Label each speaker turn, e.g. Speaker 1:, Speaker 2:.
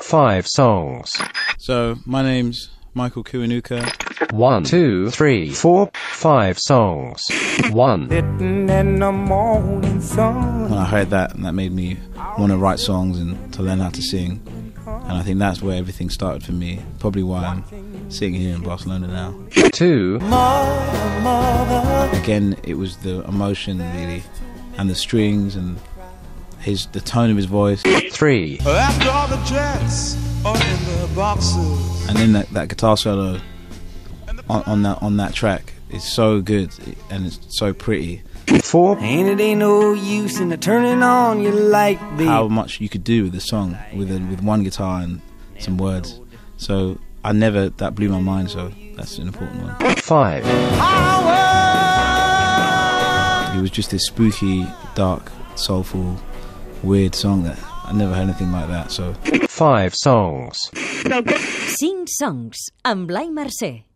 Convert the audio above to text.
Speaker 1: five songs.
Speaker 2: So, my name's Michael Kuinuka.
Speaker 1: One, two, three, four, five songs. One,
Speaker 3: Sitting in the morning sun.
Speaker 2: When I heard that, and that made me want to write songs and to learn how to sing. And I think that's where everything started for me. Probably why I'm sitting here in Barcelona now.
Speaker 1: two,
Speaker 2: Again, it was the emotion really, and the strings and his the tone of his voice,
Speaker 1: three,
Speaker 4: After all the jets are in the boxes.
Speaker 2: and then that, that guitar solo on, on that on that track is so good and it's so pretty.
Speaker 1: four,
Speaker 3: And it ain't no use in turning on your light, babe.
Speaker 2: how much you could do with a song with a, with one guitar and some words. So I never that blew my mind. So that's an important one.
Speaker 1: five,
Speaker 2: It was just this spooky, dark, soulful, weird song that I never heard anything like that. So
Speaker 1: five songs.
Speaker 5: Cinc songs amb Blai Mercè.